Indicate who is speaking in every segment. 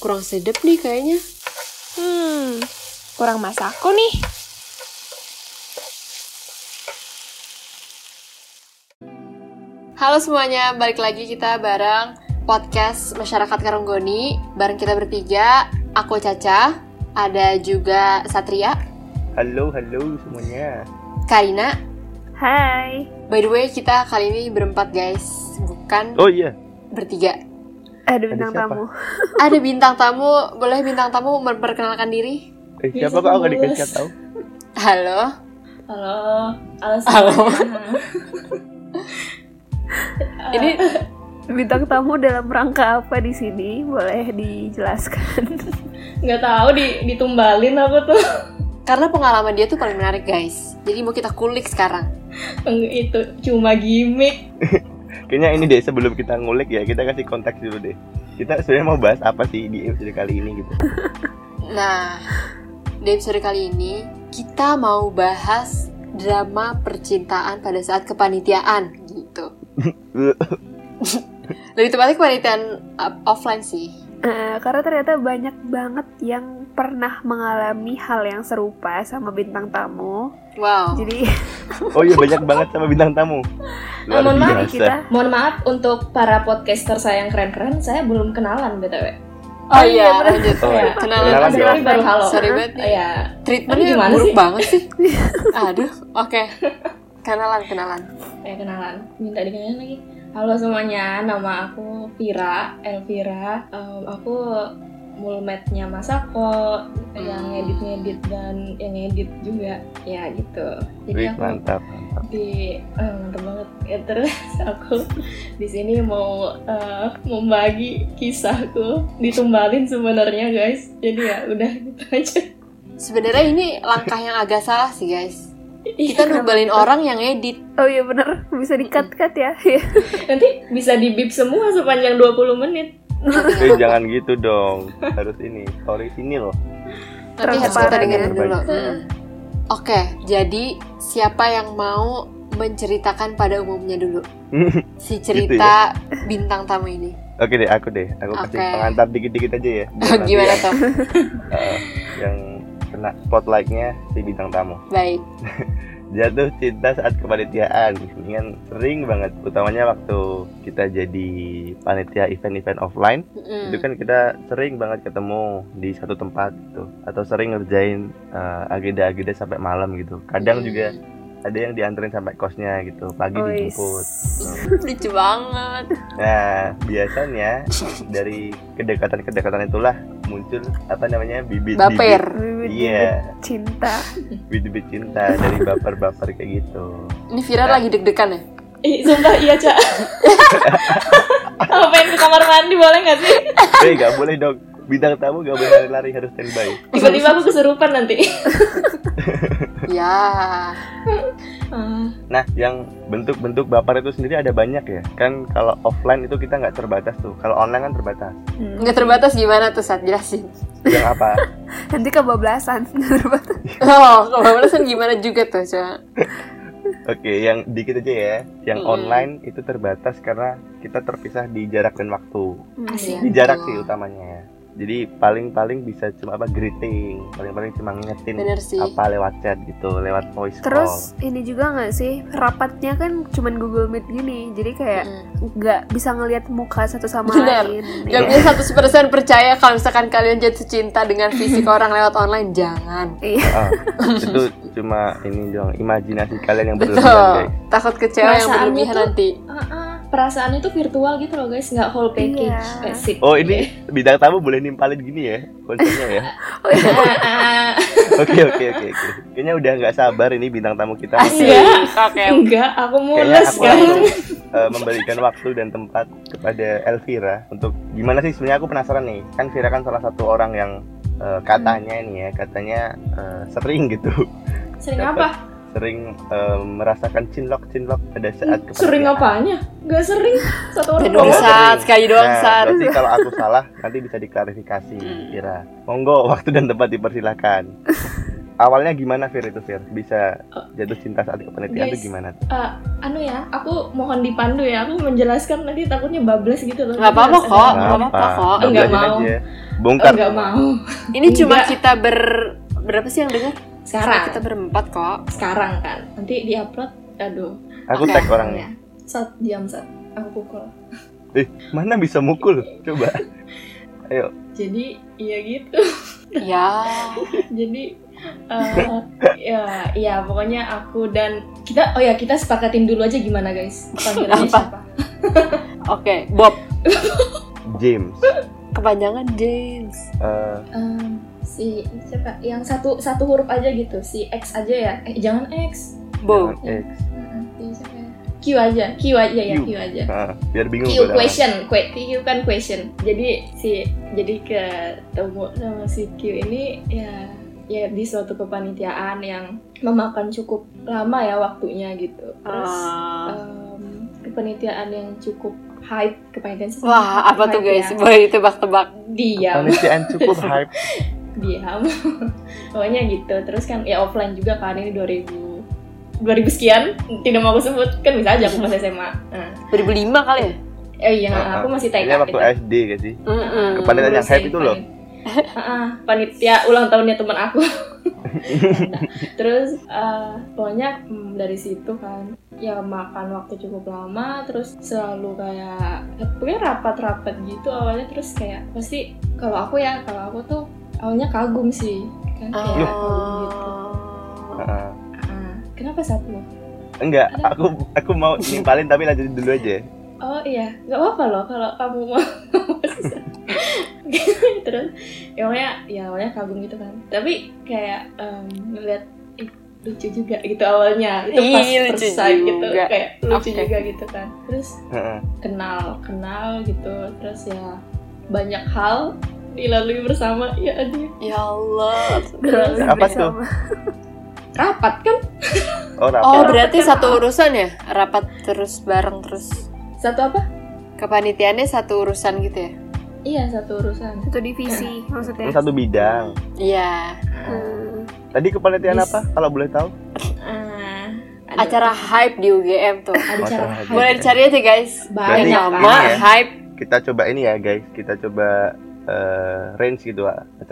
Speaker 1: Kurang sedap nih kayaknya.
Speaker 2: Hmm, kurang masakku nih.
Speaker 1: Halo semuanya, balik lagi kita bareng podcast Masyarakat Karanggoni. Bareng kita bertiga, aku Caca, ada juga Satria,
Speaker 3: Halo, halo semuanya.
Speaker 1: Karina.
Speaker 2: Hai.
Speaker 1: By the way, kita kali ini berempat guys, bukan
Speaker 3: Oh iya,
Speaker 1: bertiga.
Speaker 2: Aduh,
Speaker 3: Ada siapa?
Speaker 2: namamu.
Speaker 1: Ada bintang tamu, boleh bintang tamu memperkenalkan diri?
Speaker 3: eh,
Speaker 4: Iya,
Speaker 3: siapa kok aku gak dikasih tahu?
Speaker 1: Halo.
Speaker 4: Halo, alasan
Speaker 1: Halo. Ini
Speaker 2: Bintang tamu dalam rangka apa di sini? Boleh dijelaskan.
Speaker 4: nggak tahu di ditumbalin apa tuh
Speaker 1: karena pengalaman dia tuh paling menarik guys. Jadi mau kita kulik sekarang.
Speaker 4: Enggak, itu cuma gimmick.
Speaker 3: Kayaknya ini deh sebelum kita ngulik ya, kita kasih konteks dulu deh. Kita sebenarnya mau bahas apa sih di episode kali ini gitu.
Speaker 1: Nah, di episode kali ini kita mau bahas drama percintaan pada saat kepanitiaan gitu. Lebih tepatnya kepanitiaan uh, offline sih.
Speaker 2: Eh, karena ternyata banyak banget yang pernah mengalami hal yang serupa sama bintang tamu.
Speaker 1: Wow.
Speaker 2: Jadi,
Speaker 3: Oh iya, banyak banget sama bintang tamu. Luar
Speaker 4: Eh, Mohon maaf,
Speaker 2: mari
Speaker 3: biasa.
Speaker 2: kita
Speaker 4: Mohon maaf untuk para podcaster saya yang keren-keren, saya belum kenalan btw.
Speaker 1: Oh iya,
Speaker 2: bener.
Speaker 1: lanjut.
Speaker 3: Oh,
Speaker 4: Iya.
Speaker 1: Kenalan
Speaker 3: Kenalan
Speaker 1: aja.
Speaker 3: dong.
Speaker 4: Ini baru halo.
Speaker 1: Sorry banget
Speaker 4: Oh,
Speaker 1: nih.
Speaker 4: ya,
Speaker 1: Treatmentnya
Speaker 4: Aduh, gimana
Speaker 1: buruk
Speaker 4: sih?
Speaker 1: banget sih. Aduh, oke. Kenalan, kenalan.
Speaker 4: ya kenalan. Minta dikenalin lagi. Halo semuanya, nama aku Vira, Elvira. Em, aku mulmetnya Masako
Speaker 1: Hmm.
Speaker 4: yang ngedit-ngedit dan yang ngedit juga ya gitu. Jadi
Speaker 3: Wih,
Speaker 4: aku
Speaker 3: mantap, mantap.
Speaker 4: di eh, mantap banget ya terus aku di sini mau eh, membagi kisahku ditumbalin sebenarnya guys jadi ya udah gitu aja
Speaker 1: Sebenarnya ini langkah yang agak salah sih guys. Kita
Speaker 4: Iya.
Speaker 1: nubalin orang yang edit.
Speaker 2: oh iya bener, bisa dikat-kat ya.
Speaker 4: nanti bisa dibip semua sepanjang 20 menit
Speaker 3: Eh, jangan gitu dong. Harus ini, story sini loh.
Speaker 1: Nanti harus kita
Speaker 2: Transparan
Speaker 1: dengerin
Speaker 3: ya.
Speaker 1: dulu.
Speaker 4: Terbaik.
Speaker 1: Hmm. Oke, jadi siapa yang mau menceritakan pada umumnya dulu si cerita bintang tamu ini?
Speaker 3: Oke deh, aku deh. Aku kasih
Speaker 1: Oke.
Speaker 3: pengantar dikit-dikit aja ya. biar nanti
Speaker 1: Gimana
Speaker 3: yang,
Speaker 1: tuh?
Speaker 3: eh, yang kena spotlightnya si bintang tamu.
Speaker 1: Baik.
Speaker 3: jatuh cinta saat kepanitiaan ini kan sering banget utamanya waktu kita jadi panitia event-event offline
Speaker 1: Mm-mm.
Speaker 3: itu kan kita sering banget ketemu di satu tempat gitu atau sering ngerjain eh, agenda-agenda sampai malam gitu kadang
Speaker 1: Mm.
Speaker 3: juga ada yang dianterin sampai kosnya gitu pagi
Speaker 2: Wis.
Speaker 3: dijemput
Speaker 1: lucu banget.
Speaker 3: nah biasanya dari kedekatan-kedekatan itulah muncul apa namanya bibit-bibit
Speaker 1: Baper.
Speaker 2: Bibit-bibit
Speaker 3: iya
Speaker 2: Cinta.
Speaker 3: bibit-bibit cinta dari baper-baper kayak gitu
Speaker 1: Ini Vira
Speaker 3: Nah.
Speaker 1: lagi deg-degan ya?
Speaker 4: Ih, sumpah iya cak Aku pengen ke kamar mandi boleh nggak sih
Speaker 3: Eh gak boleh dong Bintang tamu gak boleh lari-lari harus standby
Speaker 4: tiba-tiba aku kesurupan nanti
Speaker 1: ya.
Speaker 4: Ah,
Speaker 3: Nah yang bentuk-bentuk baper itu sendiri ada banyak ya Kan kalau offline itu kita nggak terbatas tuh Kalau online kan terbatas
Speaker 2: Hmm.
Speaker 1: Nggak terbatas gimana tuh saat jelasin?
Speaker 3: Yang apa?
Speaker 2: Nanti kebablasan. Mm.
Speaker 1: Oh, kebablasan gimana juga tuh, coba.
Speaker 3: Oke yang dikit aja ya Yang
Speaker 1: Mm-mm.
Speaker 3: online itu terbatas karena kita terpisah di jarak dan waktu
Speaker 1: Kasihan.
Speaker 4: Iya.
Speaker 3: Di jarak
Speaker 1: Betul.
Speaker 3: sih utamanya ya jadi paling-paling bisa cuma apa greeting, paling-paling cuma ngingetin
Speaker 1: Bener sih.
Speaker 3: apa lewat chat gitu, lewat voice
Speaker 2: Terus ini juga nggak sih rapatnya kan cuman Google Meet gini, jadi kayak
Speaker 1: Mm.
Speaker 2: nggak bisa ngelihat muka satu sama
Speaker 1: Bener.
Speaker 2: lain.
Speaker 1: Gak
Speaker 2: Iya.
Speaker 1: bisa 100% percaya kalau misalkan kalian jatuh cinta dengan fisik orang lewat online, jangan.
Speaker 3: call. Ah, itu cuma ini doang imajinasi kalian yang berlebihan
Speaker 1: Betul. Takut kecewa yang
Speaker 4: Perasaannya
Speaker 1: berlebihan
Speaker 4: tuh-
Speaker 1: nanti.
Speaker 4: ah, ah. perasaannya tuh virtual gitu loh guys nggak whole package
Speaker 2: Iya.
Speaker 4: Asik.
Speaker 3: Oh ini bintang tamu boleh nimpalin gini ya konsepnya ya.
Speaker 4: Ah, ah.
Speaker 3: Oke oke oke oke. Kayaknya udah nggak sabar ini bintang tamu kita.
Speaker 1: Asik.
Speaker 4: Iya.
Speaker 1: Oke.
Speaker 4: Enggak, aku
Speaker 3: Kayaknya
Speaker 4: mules
Speaker 3: aku
Speaker 4: kan.
Speaker 3: langsung eh, memberikan waktu dan tempat kepada Elvira untuk gimana sih sebenarnya aku penasaran nih. Kan Vira kan salah satu orang yang eh, katanya ini ya katanya eh, sering gitu,
Speaker 4: Sering
Speaker 3: Dapat.
Speaker 4: apa?
Speaker 3: sering eh, merasakan cinlok cinlok pada saat kepanitiaan.
Speaker 4: Sering apanya? Enggak sering. Satu orang
Speaker 1: Dan doang
Speaker 3: Nggak
Speaker 4: doang.
Speaker 3: usah.
Speaker 1: saat, sekali doang
Speaker 3: Nah,
Speaker 1: saat.
Speaker 3: berarti kalau aku salah nanti bisa diklarifikasi
Speaker 1: Hmm.
Speaker 3: Vira. Monggo waktu dan tempat dipersilahkan. awalnya gimana Fir itu Fir bisa
Speaker 4: Oh.
Speaker 3: jatuh cinta saat kepanitiaan
Speaker 4: Guys.
Speaker 3: itu gimana tuh?
Speaker 4: Eh, anu ya, aku mohon dipandu ya. Aku menjelaskan nanti takutnya bablas gitu loh.
Speaker 1: Nggak apa-apa
Speaker 4: Jelas,
Speaker 1: kok.
Speaker 4: ada-
Speaker 1: Oh, nggak apa-apa kok.
Speaker 4: Enggak
Speaker 3: Belajarin
Speaker 4: mau.
Speaker 3: aja. Bongkar.
Speaker 4: Nggak mau.
Speaker 1: Ini cuma
Speaker 4: Enggak.
Speaker 1: kita ber berapa sih yang dengar?
Speaker 4: Sekarang,
Speaker 1: kita berempat kok.
Speaker 4: sekarang kan. Nanti diupload. Aduh.
Speaker 3: Aku
Speaker 1: Oke.
Speaker 3: tag orangnya.
Speaker 4: Sat jam sat. Aku pukul.
Speaker 1: Iya.
Speaker 3: Mana bisa mukul? Coba.
Speaker 4: Jadi ya gitu.
Speaker 1: Ya.
Speaker 4: jadi eh, ya ya pokoknya aku dan kita oh ya kita sepakatin dulu aja gimana guys
Speaker 1: Apa?
Speaker 4: panggilannya siapa
Speaker 1: Oke, Bob.
Speaker 3: James.
Speaker 1: Kepanjangan James.
Speaker 3: Eh,
Speaker 4: Em, si siapa yang satu satu huruf aja gitu si X aja ya eh jangan X
Speaker 1: Bo.
Speaker 3: jangan X.
Speaker 4: Hmm, si siapa ya? Q aja Q aja ya
Speaker 3: Q.
Speaker 4: Q aja
Speaker 3: Ah, biar bingung
Speaker 4: Q
Speaker 3: gua dah.
Speaker 4: question, que- Q kan question. Jadi si jadi ketemu sama si Q ini ya ya di suatu kepanitiaan yang memakan cukup lama ya waktunya gitu. Terus
Speaker 1: Ah.
Speaker 4: em, kepanitiaan yang cukup hype kepanitiaan sih
Speaker 1: Wah,
Speaker 4: cukup
Speaker 1: apa tuh
Speaker 4: hype
Speaker 1: guys?
Speaker 4: ya.
Speaker 1: Boleh ditebak-tebak.
Speaker 4: diam
Speaker 3: Kepanitiaan cukup hype.
Speaker 4: diam pokoknya gitu terus kan ya offline juga kan ini 2000 2000 sekian tidak mau aku sebut kan bisa aja aku masih SMA nah,
Speaker 1: 2005 kali ya?
Speaker 4: eh iya
Speaker 3: Ah,
Speaker 4: aku masih TK
Speaker 3: Ini waktu
Speaker 4: gitu.
Speaker 3: SD gak sih?
Speaker 1: Mm-mm.
Speaker 3: Kepanitiaan yang
Speaker 4: Ngurusin
Speaker 3: hype itu loh.
Speaker 4: panit- Ah, panitia ulang tahunnya teman aku. Nah, terus eh, pokoknya hmm, dari situ kan ya makan waktu cukup lama terus selalu kayak ya, pokoknya rapat-rapat gitu awalnya terus kayak pasti kalau aku ya kalau aku tuh awalnya kagum sih kan
Speaker 1: Oh,
Speaker 4: kayak kagum gitu
Speaker 1: Ah.
Speaker 3: Ah,
Speaker 4: Ah, kenapa satu
Speaker 3: enggak, aku aku mau nimpalin tapi lanjutin dulu aja.
Speaker 4: Oh iya, nggak apa-apa loh kalau kamu mau. Terus, ya awalnya, ya awalnya kagum gitu kan. Tapi kayak em, ngeliat ih, lucu juga gitu awalnya. Itu
Speaker 1: Ih,
Speaker 4: pas
Speaker 1: lucu
Speaker 4: first sight gitu,
Speaker 1: juga.
Speaker 4: kayak lucu
Speaker 1: Oke.
Speaker 4: juga gitu kan. Terus
Speaker 3: Heeh.
Speaker 4: kenal, kenal gitu. Terus ya banyak hal dilalui bersama. Ya aduh,
Speaker 1: Ya Allah.
Speaker 4: Terus,
Speaker 3: Apa tuh?
Speaker 2: Bersama.
Speaker 4: rapat kan
Speaker 3: Oh, rapat.
Speaker 1: Oh,
Speaker 4: Rapat
Speaker 1: berarti
Speaker 4: kan
Speaker 1: satu ya?
Speaker 4: rapat.
Speaker 1: gitu ya?
Speaker 4: Iya,
Speaker 1: Ah. ya?
Speaker 3: ya, eh, gitu,
Speaker 2: Hmm.
Speaker 4: Iya. kan? ya? Iya, Ya,
Speaker 3: Oh, iya,
Speaker 4: ah, "Mm," gitu. Ya gitu. ya,
Speaker 1: Iya. Iya. Nah.
Speaker 3: Eh, Kan Oh
Speaker 4: Iya. kan Oh, iya.
Speaker 3: kan gitu Nah, kan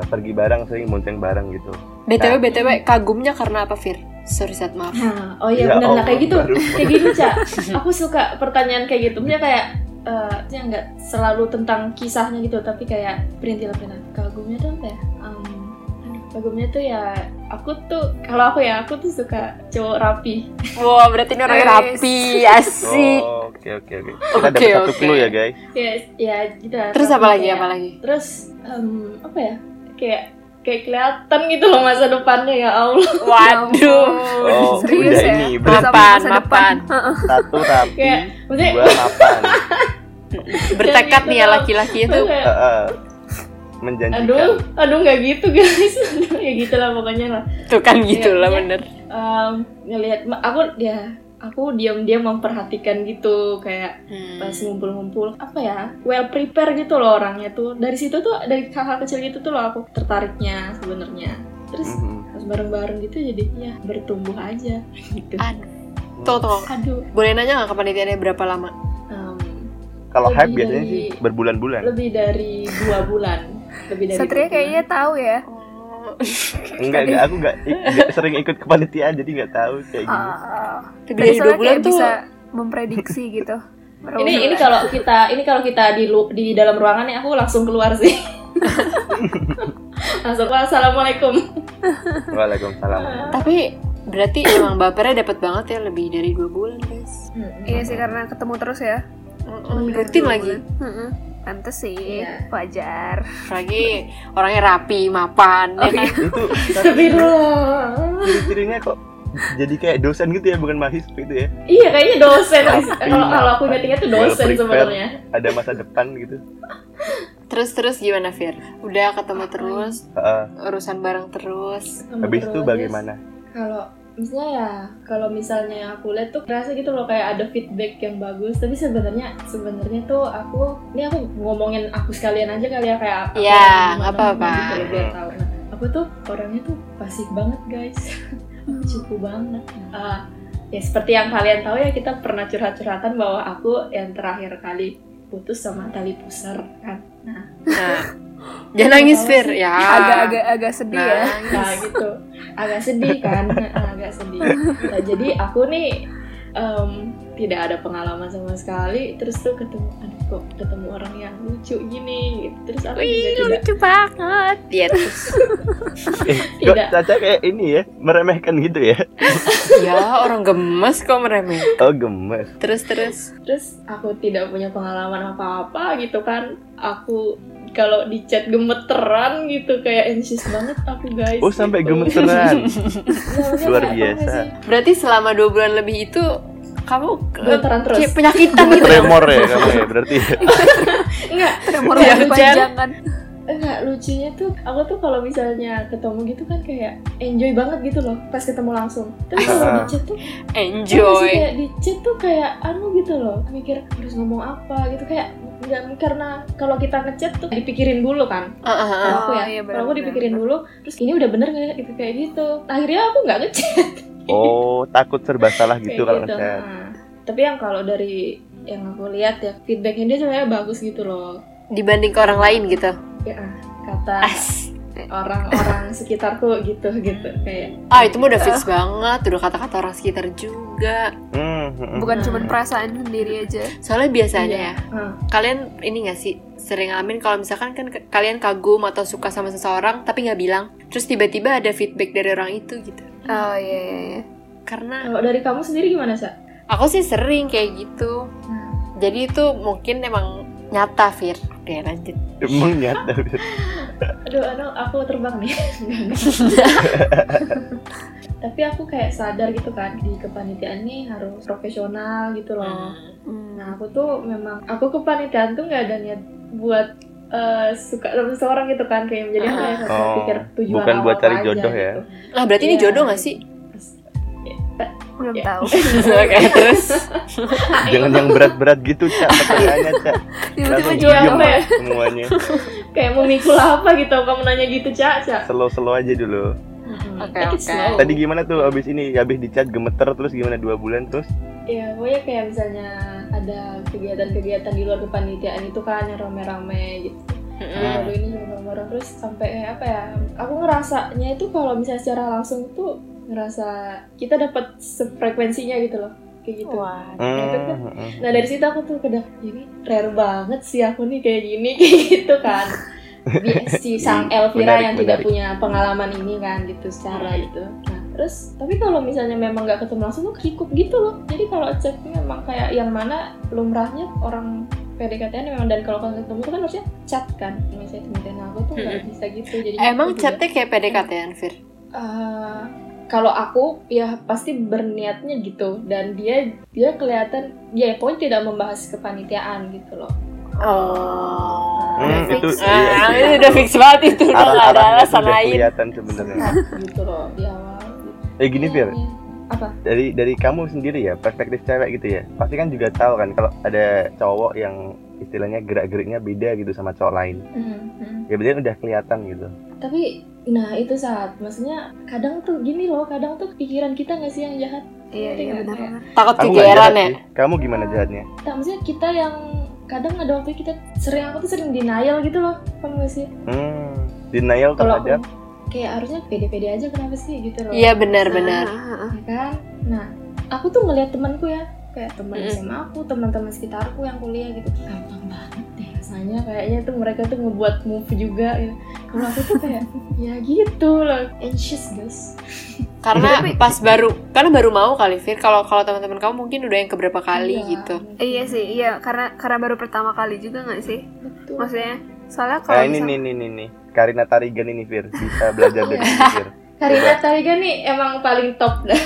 Speaker 3: gitu. eh, gitu.
Speaker 4: Nah, oh iya, gitu. eh, gitu, ya?
Speaker 3: ya,
Speaker 4: ya, Ya, gitu ya? gitu ya
Speaker 1: Ya
Speaker 3: Oh,
Speaker 2: ya?
Speaker 1: ya
Speaker 3: eh,
Speaker 4: gitu,
Speaker 1: kan gitu
Speaker 4: ya Iya. ya, gitu. Hmm. ya, gitu
Speaker 3: Mm-hmm.
Speaker 4: gitu ya,
Speaker 2: ya.
Speaker 3: Oh. Enggak, enggak aku enggak, i- enggak sering ikut kepanitiaan jadi enggak tahu kayak gini.
Speaker 2: Ah,
Speaker 1: Lebih
Speaker 2: jadi
Speaker 1: dari dua
Speaker 2: soalnya
Speaker 1: bulan
Speaker 2: kayak
Speaker 1: tuh
Speaker 2: bisa memprediksi gitu.
Speaker 4: ini ini kalau kita ini kalau kita di lu- di dalam ruangan nih aku langsung keluar sih langsung keluar assalamualaikum
Speaker 3: Waalaikumsalam.
Speaker 1: Tapi berarti emang bapernya dapat banget ya lebih dari dua bulan guys.
Speaker 2: Iya sih karena ketemu terus ya.
Speaker 1: Mm-mm, rutin lagi.
Speaker 2: Heeh. Pantes sih,
Speaker 4: Iya.
Speaker 2: wajar.
Speaker 1: Lagi orangnya rapi, mapan. ya
Speaker 2: Oh,
Speaker 1: kan?
Speaker 2: iya.
Speaker 3: Itu tapi
Speaker 4: Astagfirullah.
Speaker 3: ciri-cirinya kok jadi kayak dosen gitu ya, bukan mahasiswa gitu ya.
Speaker 4: iya kayaknya dosen kalau kalau aku nyetingnya tuh
Speaker 3: Well
Speaker 4: dosen
Speaker 3: prepared.
Speaker 4: sebenarnya
Speaker 3: Ada masa depan gitu.
Speaker 1: Terus-terus gimana Fir? Udah ketemu terus,
Speaker 3: Heeh.
Speaker 1: urusan bareng terus.
Speaker 3: habis itu
Speaker 4: Terus,
Speaker 3: bagaimana?
Speaker 4: kalau misalnya ya kalau misalnya aku lihat tuh rasa gitu loh kayak ada feedback yang bagus tapi sebenarnya sebenarnya tuh aku ini aku ngomongin aku sekalian aja kali ya kayak aku
Speaker 1: Iya,
Speaker 4: yang gimana
Speaker 1: nggak apa-apa.
Speaker 4: gitu loh, biar tahu. Nah, aku tuh orangnya tuh pasif banget guys cukup banget Ah, ya seperti yang kalian tahu ya kita pernah curhat-curhatan bahwa aku yang terakhir kali putus sama tali pusar kan
Speaker 1: Nah, jangan nangis Fir ya.
Speaker 2: Agak-agak agak sedih
Speaker 1: Nah,
Speaker 2: ya.
Speaker 4: nah gitu agak sedih kan agak sedih Nah, jadi aku nih em, tidak ada pengalaman sama sekali terus tuh ketemu aduh kok ketemu orang yang lucu gini gitu. terus aku juga
Speaker 1: Wih,
Speaker 4: tidak
Speaker 1: lucu banget. Ya, Iya. terus.
Speaker 3: Eh, kok
Speaker 4: Tidak.
Speaker 3: Caca kayak ini ya, meremehkan gitu ya.
Speaker 1: ya orang gemes kok meremeh.
Speaker 3: Oh, gemes.
Speaker 1: Terus terus.
Speaker 4: terus aku tidak punya pengalaman apa-apa gitu kan aku kalau di chat gemeteran gitu kayak anxious banget aku guys
Speaker 3: Oh, sampai
Speaker 4: gitu.
Speaker 3: gemeteran.
Speaker 4: Iya, maksudnya
Speaker 3: Luar
Speaker 4: kayak,
Speaker 3: biasa.
Speaker 4: tau gak sih?
Speaker 1: Berarti selama dua bulan lebih itu kamu ke-
Speaker 4: Gemeteran terus.
Speaker 1: kayak penyakitan gitu. ya?
Speaker 3: Tremor ya kamu ya berarti.
Speaker 4: enggak
Speaker 2: Tremor
Speaker 1: Iya,
Speaker 2: waktu
Speaker 1: hujan.
Speaker 2: panjangan.
Speaker 4: Enggak, lucunya tuh aku tuh kalau misalnya ketemu gitu kan kayak enjoy banget gitu loh pas ketemu langsung. Tapi kalau di chat tuh tau gak Iya sih,
Speaker 1: Enjoy.
Speaker 4: kayak di chat tuh kayak anu gitu loh, mikir harus ngomong apa gitu kayak nggak karena kalau kita ngechat tuh dipikirin dulu kan.
Speaker 1: Ah, ah, ah.
Speaker 4: Kalau aku
Speaker 2: Oh,
Speaker 4: ya,
Speaker 2: iya,
Speaker 4: kalau aku
Speaker 2: benar-benar.
Speaker 4: dipikirin dulu, terus ini udah bener nggak gitu kayak gitu. Akhirnya aku nggak ngechat
Speaker 3: Oh, takut serba salah gitu
Speaker 4: kayak
Speaker 3: kalau
Speaker 4: gitu.
Speaker 3: ngechat.
Speaker 4: Nah, tapi yang kalau dari yang aku lihat ya feedbacknya dia sebenarnya bagus gitu loh.
Speaker 1: Dibanding ke orang lain gitu.
Speaker 4: Ya, ah, kata
Speaker 1: As.
Speaker 4: orang-orang sekitarku gitu gitu kayak
Speaker 1: Ah itu mah udah fix banget, udah kata-kata orang sekitar juga.
Speaker 3: Hmm, hmm,
Speaker 2: Bukan
Speaker 4: Hmm.
Speaker 2: cuma perasaan sendiri aja.
Speaker 1: Soalnya biasanya ya,
Speaker 4: Iya. ah,
Speaker 1: kalian ini gak sih sering ngalamin kalau misalkan kan ke- kalian kagum atau suka sama seseorang tapi nggak bilang, terus tiba-tiba ada feedback dari orang itu gitu.
Speaker 2: Oh iya iya iya.
Speaker 1: Karena
Speaker 4: Kalau dari kamu sendiri gimana, Sa?
Speaker 1: aku sih sering kayak gitu.
Speaker 3: Hmm.
Speaker 1: Jadi itu mungkin emang nyata Fir. Oke lanjut.
Speaker 3: hmm. Emang eh, nyata.
Speaker 4: Aduh, aduh, aku terbang nih. Tapi aku kayak sadar gitu kan di kepanitiaan nih harus profesional gitu
Speaker 3: Hmm.
Speaker 4: loh. Nah,
Speaker 2: Hmm,
Speaker 4: aku tuh memang aku kepanitiaan tuh nggak ada niat buat eh, suka sama seorang gitu kan kayak jadi aku kayak saya
Speaker 3: Oh,
Speaker 4: pikir tujuan
Speaker 3: bukan buat
Speaker 4: awal
Speaker 3: cari
Speaker 4: aja
Speaker 3: jodoh ya.
Speaker 4: gitu.
Speaker 1: Nah berarti ini
Speaker 4: Iya.
Speaker 1: jodoh gak sih?
Speaker 2: Belum
Speaker 4: Iya.
Speaker 2: tahu.
Speaker 1: Oke terus.
Speaker 3: Jangan yang berat-berat gitu, Cak. Pertanyaannya, Cak.
Speaker 2: Tiba-tiba
Speaker 3: Langsung
Speaker 4: jual
Speaker 3: diem
Speaker 4: apa ya?
Speaker 3: semuanya.
Speaker 4: Kayak mau mikul apa gitu kamu nanya gitu, Ca, Ca.
Speaker 3: Slow-slow aja dulu. Hmm.
Speaker 1: Oke,
Speaker 4: Take it
Speaker 1: oke.
Speaker 4: slow.
Speaker 3: Tadi gimana tuh abis ini? Abis dicat gemeter terus gimana dua bulan terus?
Speaker 4: Ya, pokoknya kayak misalnya ada kegiatan-kegiatan di luar kepanitiaan itu kan yang rame-rame gitu.
Speaker 1: Mm-mm.
Speaker 4: Lalu ini juga bareng terus sampai eh, apa ya? Aku ngerasanya itu kalau misalnya secara langsung tuh ngerasa kita dapat frekuensinya gitu loh, kayak gitu.
Speaker 1: Wah.
Speaker 4: Ya, kan, kan?
Speaker 3: Hmm, hmm,
Speaker 4: Nah dari situ aku tuh kedap ini rare banget sih aku nih kayak gini kayak gitu kan. Bi- si sang Elvira
Speaker 3: Menarik,
Speaker 4: yang tidak
Speaker 3: menarik. Iya.
Speaker 4: punya pengalaman ini kan gitu secara gitu. Nah terus tapi kalau misalnya memang nggak ketemu langsung tuh kikuk gitu loh. Jadi kalau chatnya memang kayak yang mana lumrahnya orang PDKT memang dan kalau ketemu tuh kan harusnya chat kan. Misalnya temen aku tuh nggak
Speaker 1: Mm-mm.
Speaker 4: bisa gitu. Jadi
Speaker 1: Emang
Speaker 4: aku juga-
Speaker 1: chatnya kayak PDKT-an Fir?
Speaker 4: Eh, kalau aku ya pasti berniatnya gitu dan dia dia kelihatan ya pokoknya tidak membahas kepanitiaan gitu loh
Speaker 1: Oh.
Speaker 3: Hmm,
Speaker 1: fix.
Speaker 3: itu
Speaker 1: Ah,
Speaker 3: iya,
Speaker 1: ini
Speaker 3: iya.
Speaker 1: udah fix banget itu udah nggak ada
Speaker 3: Arah-arahnya
Speaker 1: alasan
Speaker 3: sudah
Speaker 1: lain.
Speaker 3: kelihatan sebenarnya.
Speaker 4: gitu loh Iya. di awal
Speaker 3: Eh ya? gini, Fir.
Speaker 4: apa
Speaker 3: dari dari kamu sendiri ya perspektif cewek gitu ya pasti kan juga tahu kan kalau ada cowok yang istilahnya gerak-geriknya beda gitu sama cowok lain ya berarti udah kelihatan gitu
Speaker 4: Hmm, tapi nah itu saat maksudnya kadang tuh gini loh kadang tuh pikiran kita nggak sih yang jahat
Speaker 2: Iya
Speaker 4: Ngerti
Speaker 2: iya
Speaker 4: nggak?
Speaker 2: benar
Speaker 4: Kayak,
Speaker 2: benar.
Speaker 1: Takut
Speaker 3: aku nggak
Speaker 1: kegeeran
Speaker 3: jahat
Speaker 1: ya?
Speaker 3: sih. kamu gimana jahatnya
Speaker 4: tak, maksudnya kita yang kadang ada waktu kita sering aku tuh sering denial gitu loh kamu gak sih
Speaker 3: hmm denial
Speaker 4: kalau aku
Speaker 3: terhadap
Speaker 4: kayak harusnya pede-pede aja kenapa sih gitu loh
Speaker 1: Iya
Speaker 2: Ah,
Speaker 1: benar-benar.
Speaker 4: Ya kan nah aku tuh ngeliat temanku ya kayak teman
Speaker 1: Mm.
Speaker 4: SMA aku teman-teman sekitarku yang kuliah gitu gampang banget deh rasanya kayaknya tuh mereka tuh ngebuat move juga gitu kalau aku tuh kayak ya gitu loh anxious guys
Speaker 1: Karena
Speaker 2: Tapi-
Speaker 1: pas baru karena baru mau kali Fir kalau kalau teman-teman kamu mungkin udah yang keberapa kali
Speaker 4: Iya,
Speaker 1: gitu.
Speaker 4: mungkin.
Speaker 2: Iya sih, iya karena karena baru pertama kali juga nggak sih?
Speaker 4: betul
Speaker 2: Maksudnya soalnya
Speaker 3: Nah
Speaker 2: kalau
Speaker 3: ini nih
Speaker 2: misal-
Speaker 3: nih nih nih Karina Tarigan ini Fir bisa belajar dari ini, Fir.
Speaker 4: Karina Tariga nih emang paling top dah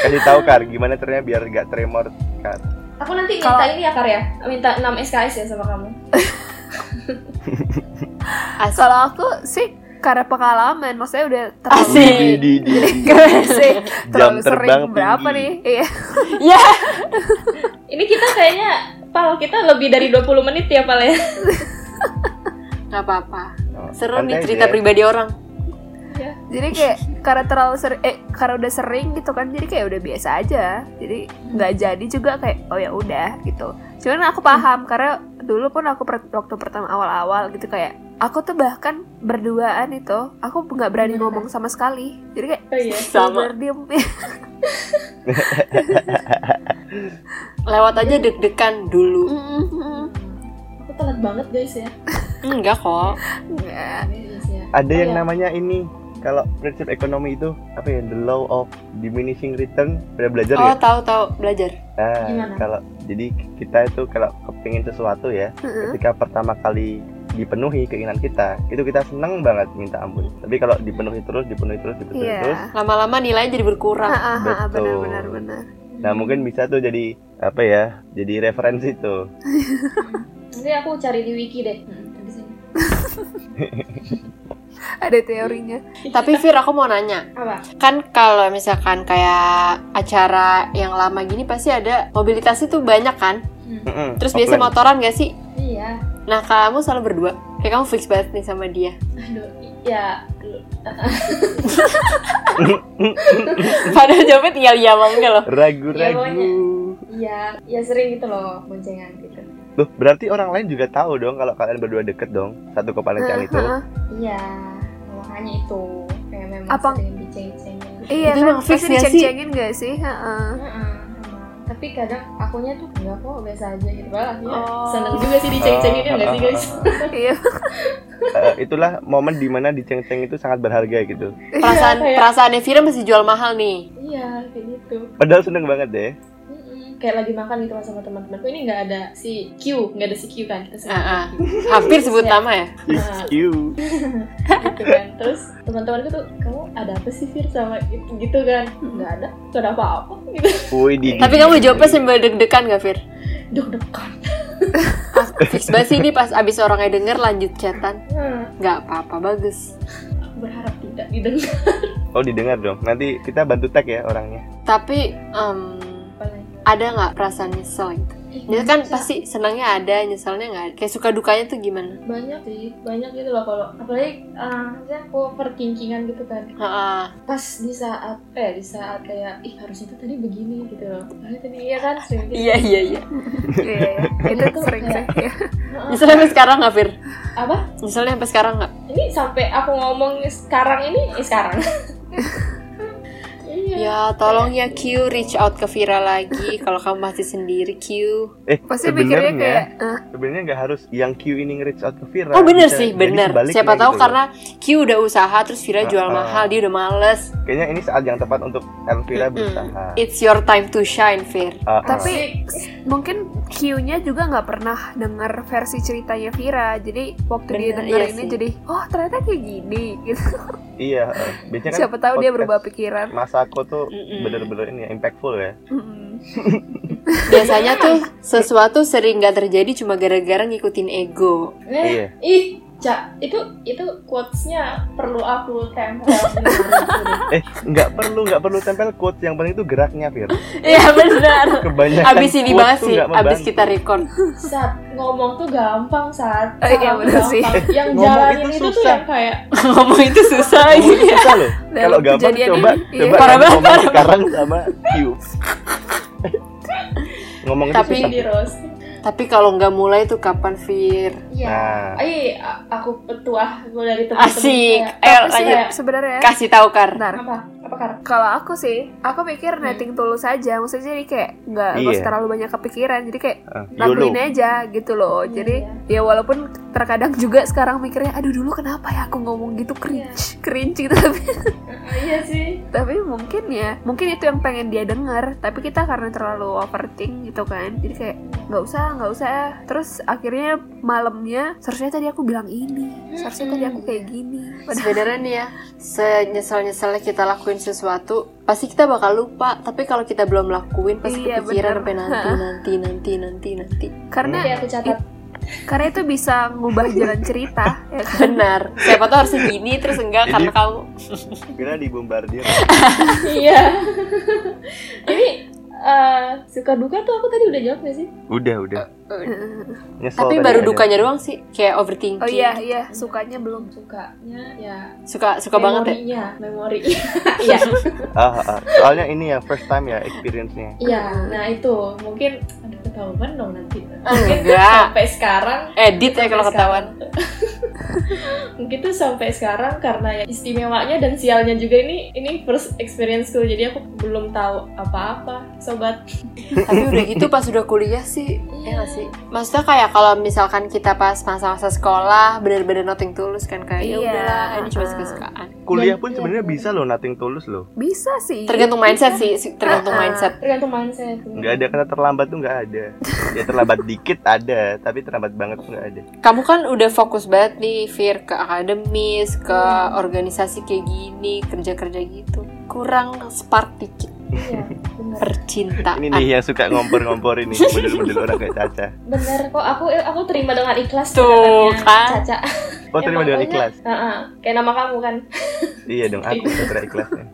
Speaker 3: Kasih tahu Kar gimana caranya biar gak tremor Kar.
Speaker 4: aku nanti minta
Speaker 2: Kalau-
Speaker 4: ini ya Kar ya minta 6 SKS ya sama kamu
Speaker 1: Asik.
Speaker 2: kalau aku sih karena pengalaman, maksudnya udah
Speaker 1: Asik.
Speaker 2: terlalu
Speaker 3: Di, di, di, di.
Speaker 2: Keren sih.
Speaker 3: Jam
Speaker 2: terlalu
Speaker 3: terbang
Speaker 2: sering berapa
Speaker 3: tinggi.
Speaker 2: nih? Iya.
Speaker 1: Ya.
Speaker 4: ini kita kayaknya Pal, kita lebih dari 20 menit ya Pal ya
Speaker 1: nggak apa-apa.
Speaker 3: Oh,
Speaker 1: Seru nih
Speaker 3: santai aja
Speaker 1: cerita
Speaker 3: ya.
Speaker 1: pribadi orang.
Speaker 2: Jadi kayak karena terlalu sering, eh karena udah sering gitu kan, jadi kayak udah biasa aja. Jadi nggak jadi juga kayak oh ya udah gitu. Cuman aku paham karena dulu pun aku per- waktu pertama awal-awal gitu kayak aku tuh bahkan berduaan itu aku nggak berani
Speaker 4: Bener.
Speaker 2: ngomong sama sekali. Jadi kayak
Speaker 4: oh iya
Speaker 1: Iya. Sama.
Speaker 2: bener diem.
Speaker 1: Lewat aja deg-degan dulu.
Speaker 4: aku telat banget guys ya
Speaker 1: Enggak kok.
Speaker 2: Nggak.
Speaker 4: Guys, ya.
Speaker 3: Ada yang
Speaker 4: Iya.
Speaker 3: namanya ini kalau prinsip ekonomi itu apa ya the law of diminishing return udah belajar
Speaker 1: Oh,
Speaker 3: ya?
Speaker 1: tahu-tahu belajar.
Speaker 3: Nah,
Speaker 4: Gimana?
Speaker 3: kalau jadi kita itu kalau kepingin sesuatu ya,
Speaker 2: Mm-mm.
Speaker 3: ketika pertama kali dipenuhi keinginan kita, itu kita seneng banget minta ampun. Tapi kalau dipenuhi terus, dipenuhi terus, dipenuhi
Speaker 2: Iya.
Speaker 3: terus,
Speaker 1: Lama-lama nilainya jadi berkurang.
Speaker 2: Ah, ah, ah,
Speaker 3: Betul.
Speaker 2: benar benar benar.
Speaker 3: nah mungkin bisa tuh jadi apa ya? Jadi referensi tuh.
Speaker 4: nanti aku cari di wiki deh Habis ini.
Speaker 2: Ada teorinya.
Speaker 1: Tapi Fir, aku mau nanya.
Speaker 4: apa
Speaker 1: Kan kalau misalkan kayak acara yang lama gini pasti ada mobilitas itu banyak kan?
Speaker 3: Mm-mm,
Speaker 1: Terus biasa
Speaker 3: offline.
Speaker 1: motoran gak sih?
Speaker 4: iya
Speaker 1: Nah, kamu selalu berdua. Kayak kamu fix banget nih sama dia.
Speaker 4: aduh ya
Speaker 1: Padahal jawabnya tinggal iya sama enggak loh.
Speaker 4: Iya,
Speaker 3: ragu-ragu.
Speaker 4: pokoknya. iya ya sering gitu loh boncengan gitu
Speaker 3: Loh, berarti orang lain juga tahu dong kalau kalian berdua deket dong, satu kepanitiaan itu.
Speaker 2: Ah, ah.
Speaker 4: iya makanya itu kayak memang
Speaker 2: Apa-
Speaker 4: sering diceng-cengin
Speaker 2: Iya
Speaker 1: Itu
Speaker 2: kan,
Speaker 1: emang fix
Speaker 2: pasti
Speaker 1: nggak sih?
Speaker 2: diceng-cengin nggak sih? Heeh.
Speaker 4: Heeh, emang. tapi kadang akunya tuh enggak kok biasa aja gitu malah ya.
Speaker 1: Oh.
Speaker 4: seneng juga sih diceng-cengin ya nggak sih guys
Speaker 2: Iya.
Speaker 3: Eh, itulah momen dimana diceng-ceng itu sangat berharga gitu.
Speaker 1: Perasaan
Speaker 4: kayak-
Speaker 1: perasaannya Fira masih jual mahal nih.
Speaker 4: iya kayak gitu
Speaker 3: Padahal seneng banget deh.
Speaker 4: Mm-mm. kayak lagi makan gitu sama teman-temanku ini nggak ada si Q nggak ada si Q kan kita sebut
Speaker 1: Ah, ah. Hampir sebut
Speaker 4: Iya.
Speaker 1: nama ya.
Speaker 4: Nah,
Speaker 3: You.
Speaker 4: gitu kan terus teman-temanku tuh kamu ada apa sih Fir sama itu gitu kan nggak ada nggak ada apa-apa gitu
Speaker 3: Woi, di.
Speaker 1: Tapi kamu jawabnya sambil deg-degan gak, Fir? Ah,
Speaker 4: deg-degan
Speaker 1: Fix banget sih ini pas abis orangnya denger lanjut chatan.
Speaker 4: Hmm,
Speaker 1: Gak apa-apa, bagus.
Speaker 4: aku berharap tidak didengar
Speaker 3: Oh didengar dong. Nanti kita bantu tag ya orangnya.
Speaker 1: Tapi em, ada nggak perasaan nyesel gitu? Dia kan pasti senangnya ada, nyeselnya nggak ada. Kayak suka dukanya tuh gimana?
Speaker 4: banyak sih banyak gitu loh kalau apalagi ah, maksudnya aku overthinkingan gitu kan
Speaker 1: Ah, ah.
Speaker 4: pas di saat eh di saat kayak ih harusnya tuh tadi begini gitu loh harusnya tadi iya kan sering gitu.
Speaker 1: Iya, iya, iya.
Speaker 2: Iya, iya. itu
Speaker 4: Itu
Speaker 2: sering sih.
Speaker 4: kayak-
Speaker 2: Iya.
Speaker 4: Heeh.
Speaker 1: Nyeselnya sampai sekarang nggak, Fir?
Speaker 4: apa
Speaker 1: Nyeselnya sampai sekarang nggak?
Speaker 4: ini sampai aku ngomong sekarang ini eh, sekarang iya
Speaker 1: Ya, tolong ya Q reach out ke Vira lagi kalau kamu masih sendiri Q.
Speaker 3: Eh
Speaker 2: Pasti mikirnya kayak
Speaker 3: sebenarnya
Speaker 2: ah,
Speaker 3: sebenarnya nggak harus yang Q ini nge-reach out ke Vira.
Speaker 1: Oh bener
Speaker 3: Nah, Bisa
Speaker 1: sih,
Speaker 3: jadi
Speaker 1: bener.
Speaker 3: sebaliknya
Speaker 1: Siapa tahu
Speaker 3: gitu loh.
Speaker 1: karena Q udah usaha terus Vira jual
Speaker 3: Ah, ah.
Speaker 1: mahal, dia udah males.
Speaker 3: kayaknya ini saat yang tepat untuk Elvira
Speaker 1: Mm-mm.
Speaker 3: berusaha.
Speaker 1: It's your time to shine, Vir.
Speaker 3: Ah, ah.
Speaker 2: tapi mungkin Q-nya juga nggak pernah denger versi ceritanya Vira. Jadi waktu dia
Speaker 1: Bener,
Speaker 2: denger
Speaker 1: iya
Speaker 2: ini
Speaker 1: sih.
Speaker 2: jadi oh ternyata kayak gini gitu.
Speaker 3: iya, ah. biasanya kan
Speaker 2: Siapa tahu dia
Speaker 3: podcast
Speaker 2: berubah pikiran. Iya
Speaker 3: Masako tuh
Speaker 1: Mm-mm.
Speaker 3: bener-bener ini ya, impactful ya.
Speaker 2: Mm-mm.
Speaker 1: Biasanya tuh sesuatu sering gak terjadi cuma gara-gara ngikutin ego.
Speaker 4: Eh,
Speaker 3: Iya.
Speaker 4: ih cak itu itu quotesnya perlu aku tempel
Speaker 3: Eh, nggak perlu nggak perlu tempel quotes yang penting itu geraknya Vira.
Speaker 1: Iya benar.
Speaker 3: Kebanyakan
Speaker 1: Abis ini
Speaker 3: quotes
Speaker 1: banget
Speaker 3: tuh
Speaker 1: sih,
Speaker 3: nggak membantu.
Speaker 1: abis kita record.
Speaker 4: saat ngomong tuh gampang saat
Speaker 1: Oh,
Speaker 2: Eh, iya, bener sih.
Speaker 4: yang
Speaker 3: Ngomong
Speaker 4: jalanin
Speaker 3: itu
Speaker 4: itu, tuh
Speaker 3: susah.
Speaker 4: yang kayak
Speaker 1: Ngomong itu susah. iya.
Speaker 3: Oh, Susah loh.
Speaker 2: Dan
Speaker 3: Kalau gampang
Speaker 2: kejadian
Speaker 3: coba
Speaker 2: ini, iya.
Speaker 3: coba
Speaker 1: Parah
Speaker 3: kamu
Speaker 1: banget,
Speaker 3: ngomong
Speaker 1: parah
Speaker 3: sekarang sama Q. ngomong itu
Speaker 1: Tapi-
Speaker 3: susah.
Speaker 4: di roasting
Speaker 1: Tapi kalau nggak mulai tuh kapan, Fir?
Speaker 4: Iya.
Speaker 3: Nah,
Speaker 4: Ay, a- aku petuah gue dari teman-teman
Speaker 1: Asik.
Speaker 4: kayak,
Speaker 1: Ayo
Speaker 2: Tapi sih
Speaker 1: lanjut.
Speaker 2: sebenarnya
Speaker 1: Kasih tahu, Kar.
Speaker 2: Bentar.
Speaker 4: apa? Apa kar?
Speaker 2: Kalau aku sih, aku pikir netting tulus aja. Maksudnya jadi kayak nggak nggak
Speaker 3: Iya.
Speaker 2: usah terlalu banyak kepikiran. Jadi kayak
Speaker 3: eh, YOLO.
Speaker 2: lakuin aja gitu loh. Jadi ya walaupun terkadang juga sekarang mikirnya, aduh dulu kenapa ya aku ngomong gitu cringe, cringe gitu. Tapi,
Speaker 4: Iya sih.
Speaker 2: tapi mungkin ya, mungkin itu yang pengen dia dengar. Tapi kita karena terlalu overthink gitu kan. Jadi kayak nggak usah, nggak usah. Terus akhirnya malamnya, seharusnya tadi aku bilang ini, seharusnya tadi aku kayak gini. Padahal
Speaker 1: Sebenarnya nih ya, senyesal-nyesalnya kita lakuin sesuatu, pasti kita bakal lupa. Tapi kalau kita belum lakuin, pasti
Speaker 2: Iya,
Speaker 1: kepikiran
Speaker 2: bener.
Speaker 1: sampai nanti, nanti, nanti, nanti, nanti.
Speaker 3: Nah.
Speaker 2: karena
Speaker 1: Mm.
Speaker 4: Oke, Iya, aku catat.
Speaker 2: karena itu bisa ngubah jalan cerita ya kan?
Speaker 1: Benar. Siapa tahu harusnya gini terus enggak
Speaker 3: Jadi-
Speaker 1: karena kamu.
Speaker 3: Kira dibombardir.
Speaker 4: iya. Ini eh, suka duka tuh aku tadi udah jawab gak sih?
Speaker 3: Udah, udah.
Speaker 1: Eh,
Speaker 3: Nyesel
Speaker 1: Tapi
Speaker 3: tadi
Speaker 1: baru
Speaker 3: ada.
Speaker 1: dukanya doang sih, kayak overthinking.
Speaker 2: oh iya iya sukanya belum
Speaker 4: Sukanya ya
Speaker 1: Suka suka banget ya.
Speaker 4: memorinya, memori. Iya.
Speaker 3: Ah, ah, ah. Soalnya ini ya first time ya experience-nya.
Speaker 4: Iya, nah itu mungkin aduh ketahuan dong nanti.
Speaker 1: Oh, Enggak.
Speaker 4: Sampai sekarang
Speaker 1: Edit ya Ah. kalau ketahuan.
Speaker 4: Mungkin tuh sampai sekarang karena ya istimewanya dan sialnya juga ini ini first experience ku jadi aku belum tahu apa-apa sobat.
Speaker 1: Tapi udah gitu pas udah kuliah sih, ya nggak sih? Maksudnya kayak kalau misalkan kita pas masa-masa sekolah bener-bener nothing tulus kan kayak ya
Speaker 2: Iya.
Speaker 1: udahlah ini cuma suka-sukaan.
Speaker 3: Kuliah
Speaker 4: Dan-
Speaker 3: pun sebenarnya
Speaker 1: iya.
Speaker 3: bisa loh nothing tulus loh.
Speaker 2: bisa sih
Speaker 1: Tergantung mindset sih, sih, tergantung
Speaker 2: Ah, ah.
Speaker 1: mindset.
Speaker 4: Tergantung mindset.
Speaker 3: Nggak ada kata terlambat tuh nggak ada. Ya terlambat dikit ada, tapi terlambat banget tuh nggak ada.
Speaker 1: Kamu kan udah fokus banget nih, Fir, ke akademis, ke organisasi kayak gini, kerja-kerja gitu. Kurang spark dikit
Speaker 4: Iya, bener.
Speaker 1: percintaan.
Speaker 3: Ini nih yang suka ngompor-ngompor ini, model-model orang kayak Caca.
Speaker 4: Bener kok aku aku terima dengan ikhlas
Speaker 1: Tuh,
Speaker 4: perkataannya,
Speaker 1: kan?
Speaker 4: Caca.
Speaker 3: Oh terima dengan ikhlas.
Speaker 4: Heeh. Kayak nama kamu kan.
Speaker 3: Iya dong, aku terima ikhlasnya.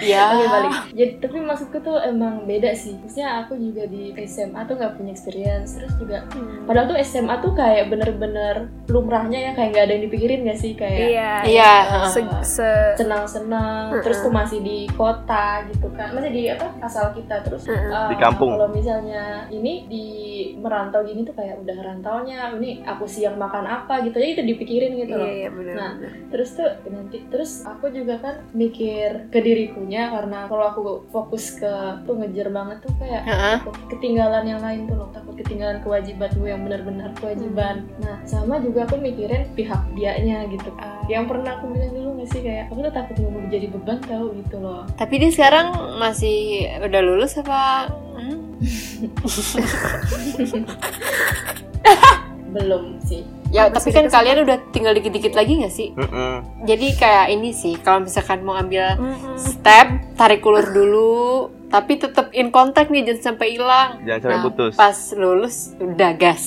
Speaker 1: Ya.
Speaker 4: Oke, balik. Jadi tapi maksudku tuh emang beda sih. Maksudnya aku juga di SMA tuh nggak punya experience terus juga
Speaker 2: Hmm.
Speaker 4: padahal tuh SMA tuh kayak bener-bener lumrahnya ya kayak nggak ada yang dipikirin gak sih kayak
Speaker 2: iya
Speaker 1: Iya. heeh.
Speaker 2: se, se-
Speaker 4: senang-senang
Speaker 2: Mm-mm.
Speaker 4: terus tuh masih di kota gitu kan masih di apa asal kita terus
Speaker 2: Mm-mm.
Speaker 4: eh,
Speaker 3: Di kampung.
Speaker 4: kalau misalnya ini di merantau gini tuh kayak udah rantaunya ini aku siang makan apa gitu jadi itu dipikirin gitu
Speaker 2: iya
Speaker 4: loh
Speaker 2: iya benar
Speaker 4: Nah.
Speaker 2: benar.
Speaker 4: terus tuh nanti terus aku juga kan mikir ke dirikunya karena kalau aku fokus ke tuh ngejar banget tuh kayak
Speaker 1: Heeh.
Speaker 4: takut ketinggalan yang lain tuh loh takut ketinggalan kewajiban gue yang benar-benar kewajiban
Speaker 1: Hmm.
Speaker 4: nah sama juga aku mikirin pihak dianya gitu
Speaker 1: Ah.
Speaker 4: yang pernah aku bilang dulu gak sih kayak aku tuh takut mau jadi beban tau gitu loh
Speaker 1: Tapi dia sekarang masih udah lulus apa? Hmm?
Speaker 4: belum sih
Speaker 1: Ya,
Speaker 2: Apa
Speaker 1: tapi
Speaker 2: sih
Speaker 1: kan
Speaker 2: dikasih?
Speaker 1: kalian udah tinggal dikit-dikit lagi nggak sih?
Speaker 3: Mm-mm.
Speaker 1: Jadi kayak ini sih, kalau misalkan mau ambil
Speaker 2: Mm-mm.
Speaker 1: step, tarik ulur dulu, tapi tetap in contact nih jangan sampai hilang.
Speaker 3: Jangan sampai
Speaker 1: Nah,
Speaker 3: putus.
Speaker 1: Pas lulus udah gas.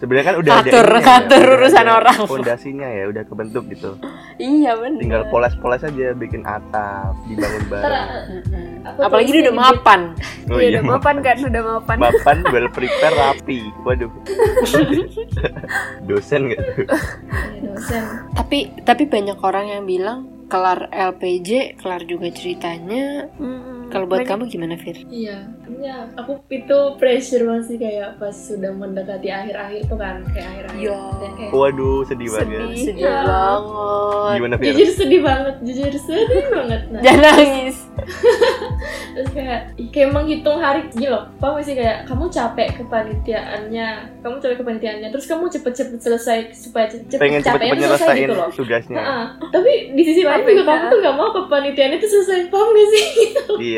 Speaker 3: Sebenarnya kan udah
Speaker 1: Ngatur-
Speaker 3: ininya ya,
Speaker 1: ngatur
Speaker 3: udah
Speaker 1: urusan
Speaker 3: ada
Speaker 1: orang.
Speaker 3: Fondasinya ya udah kebentuk gitu.
Speaker 1: Iya bener.
Speaker 3: Tinggal poles-poles aja bikin atap, dibangun
Speaker 4: Ter eh,
Speaker 3: bareng.
Speaker 1: Mm-mm.
Speaker 4: Aku
Speaker 1: Apalagi dia
Speaker 4: tulisnya
Speaker 1: udah
Speaker 4: di-
Speaker 1: mapan.
Speaker 3: Oh
Speaker 2: Iya,
Speaker 3: iya,
Speaker 2: udah mapan kan udah mapan
Speaker 3: mapan well prepare rapi. Waduh. Dosen gitu.
Speaker 4: ya, dosen
Speaker 1: Tapi tapi banyak orang yang bilang kelar LPJ, kelar juga ceritanya.
Speaker 2: Mm-mm.
Speaker 1: Kalau buat
Speaker 2: Banyak-
Speaker 1: kamu gimana, Fir?
Speaker 4: iya iya aku itu pressure masih kayak pas sudah mendekati akhir-akhir tuh kan kayak akhir-akhir
Speaker 1: Iya.
Speaker 4: Dan kayak,
Speaker 3: Waduh, sedih
Speaker 2: Sedih.
Speaker 3: banget.
Speaker 1: Sedih
Speaker 4: Iya.
Speaker 1: banget.
Speaker 3: Gimana Fir?
Speaker 4: jujur sedih banget jujur sedih banget nah
Speaker 3: Ya.
Speaker 1: Jangan nangis.
Speaker 4: terus kayak kayak menghitung hari gitu loh paham gak sih kayak kamu capek kepanitiaannya kamu capek kepanitiaannya terus kamu cepet-cepet selesai supaya cepet
Speaker 3: Pengen cepet-cepet
Speaker 4: capeknya selesai
Speaker 3: nyelesain Iya.
Speaker 4: gitu loh
Speaker 3: tugasnya.
Speaker 4: Heeh. tapi di sisi lain
Speaker 2: Tapi
Speaker 4: juga
Speaker 2: ya.
Speaker 4: kamu tuh gak mau kepanitiaannya itu selesai paham gak sih